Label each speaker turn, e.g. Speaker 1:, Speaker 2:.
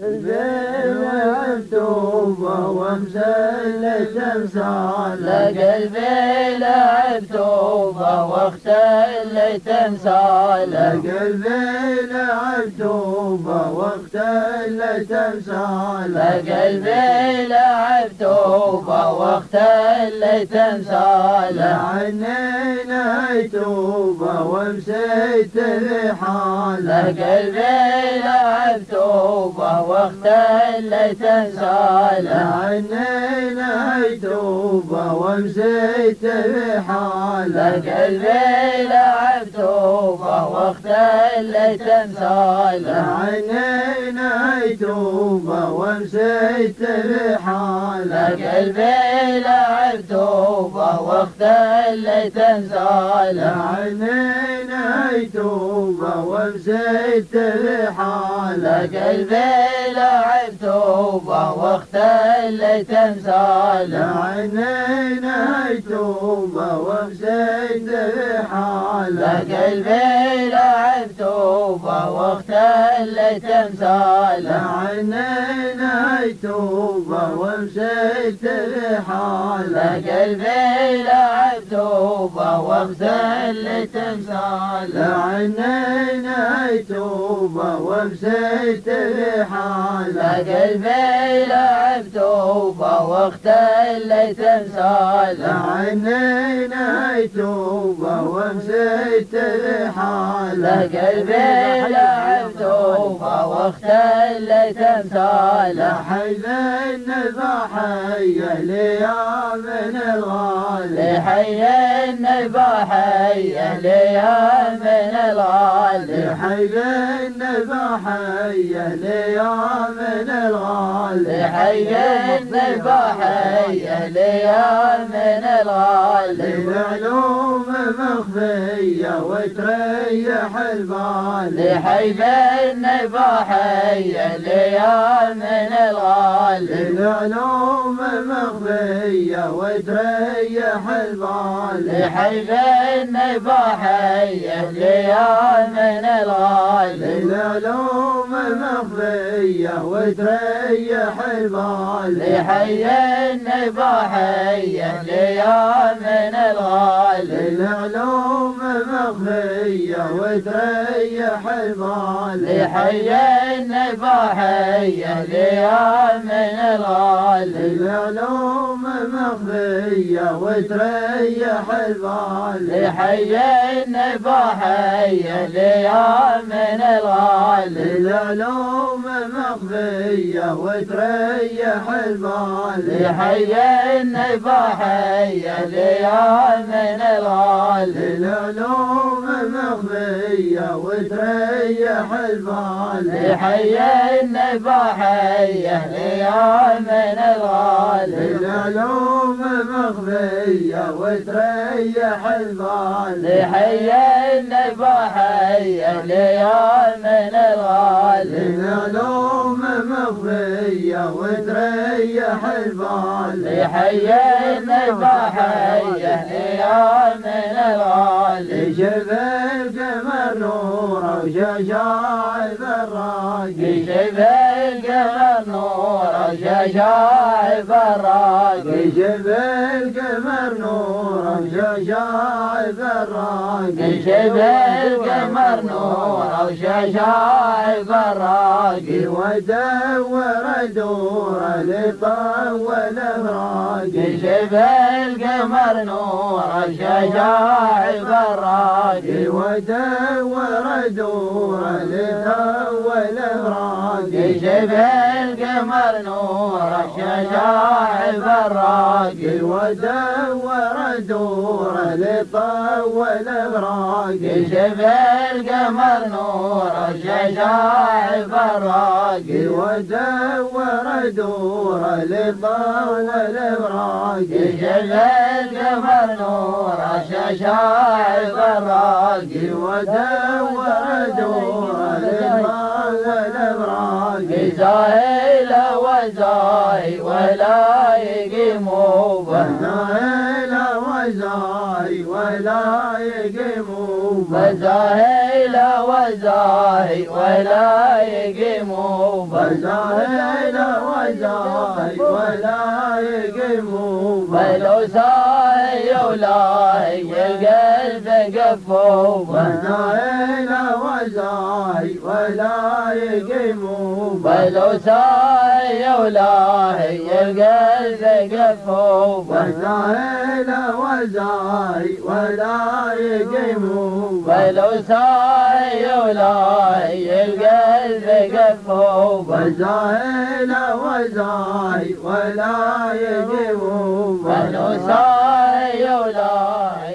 Speaker 1: زين التوبة ومزلة
Speaker 2: لا
Speaker 1: سعادة
Speaker 2: قلبي لعب توبة واختلت انسالة
Speaker 1: لقلبي لعب توبة واختلت
Speaker 2: لا
Speaker 1: مسالة
Speaker 2: قلبي لعب توبة واختلت انسالة
Speaker 1: لعيني نهي توبة ومسيت
Speaker 2: لا
Speaker 1: بحالة
Speaker 2: قلبي لعب توبة واختلت انسالة
Speaker 1: لعيني نهي توبة ومسيت
Speaker 2: لا
Speaker 1: بحالة
Speaker 2: قلبي لعب توبة واختلت انسالة
Speaker 1: لعيني نهي توبة ومسيت
Speaker 2: لا
Speaker 1: بحالة
Speaker 2: قلبي لعب توبة واختلت انسالة
Speaker 1: لعيني نهي توبة ومسيت
Speaker 2: لا
Speaker 1: بحالة
Speaker 2: قلبي لعب توبة واختلت انسالة
Speaker 1: لعينين هيتوبة ومسيت
Speaker 2: لا
Speaker 1: بحالة
Speaker 2: قلبي لعب توبة واختلت انسالة
Speaker 1: لعينين هيتوبة ومسيت
Speaker 2: لا
Speaker 1: بحالة
Speaker 2: قلبي لعب توبة واختلت انسالة
Speaker 1: لعينين هيتوبة ومسيت
Speaker 2: لا
Speaker 1: بحالة لعينين هيتوبة ومسيت
Speaker 2: قلبي لعب توبة واختلت انسالة لا
Speaker 1: بحالة
Speaker 2: قلبي لعب توبة واختلت امثاله
Speaker 1: لحين ضحية ليام الغالي
Speaker 2: لحي النباحي يا من الغالي
Speaker 1: لحين ضحية ليام الغالي
Speaker 2: لحي النباحي يا من الغالي
Speaker 1: للعلوم مخفية وتريح البال
Speaker 2: لحي النباحي يا من الغالي
Speaker 1: للعلوم مخفية وتريح البال
Speaker 2: لحي النباحي يا من الغالي
Speaker 1: العلوم مخفية وتريح البال
Speaker 2: لحي النباحي يا من الغالي
Speaker 1: العلوم مخفية وتريح البال
Speaker 2: لحي النباحي يا من الغالي
Speaker 1: العلوم مخفية وتريح البال
Speaker 2: لحي النباحي يا من الغالي
Speaker 1: العلوم مخفية وتريح البال
Speaker 2: لحي النباحي يا من الغالي
Speaker 1: العلوم مخفية وتريح البال العلوم
Speaker 2: لحي النباحي يا من الغالي
Speaker 1: مخفية وتريح البال
Speaker 2: لحي النباحي يا من الغالي
Speaker 1: العلوم مخفية وتريح البال
Speaker 2: لحي النباحي يا من الغالي
Speaker 1: شف القمر نوره وشجاع البراقي
Speaker 2: شف القمر نور شجاع براقي
Speaker 1: شف القمر نوره وشجاع البراقي
Speaker 2: شف القمر نور شجاع براقي
Speaker 1: ودور دوره لطول براقي
Speaker 2: شف القمر نور شجاع براقي
Speaker 1: ودور دوره لطول براقي
Speaker 2: شف القمر نور شجاع براقي
Speaker 1: ودور دوره لطول براقي
Speaker 2: شف القمر نور شجاع براقي
Speaker 1: ودور دوره لطول براقي
Speaker 2: شف القمر نور شجاع براقي
Speaker 1: ودور دوره لطول براقي
Speaker 2: زاهي لا وزاهي ولا يقيموبه
Speaker 1: لا وزاي ولا يقيموا
Speaker 2: فزاهي لا وزاي ولا يقيموا
Speaker 1: وزاهد وزاهد ولا يقيموا
Speaker 2: ولو ساي ولاي القلب قفوا
Speaker 1: وزاهد وزاهد ولا يقيموا
Speaker 2: ولو ساي ولاي القلب قفوا
Speaker 1: وزاهد وزاهد ولا يقيموا
Speaker 2: ولو ساي ولاي القلب قفوا
Speaker 1: وزاهد وزاهد ولا يقيموا
Speaker 2: ولو ساي ولاي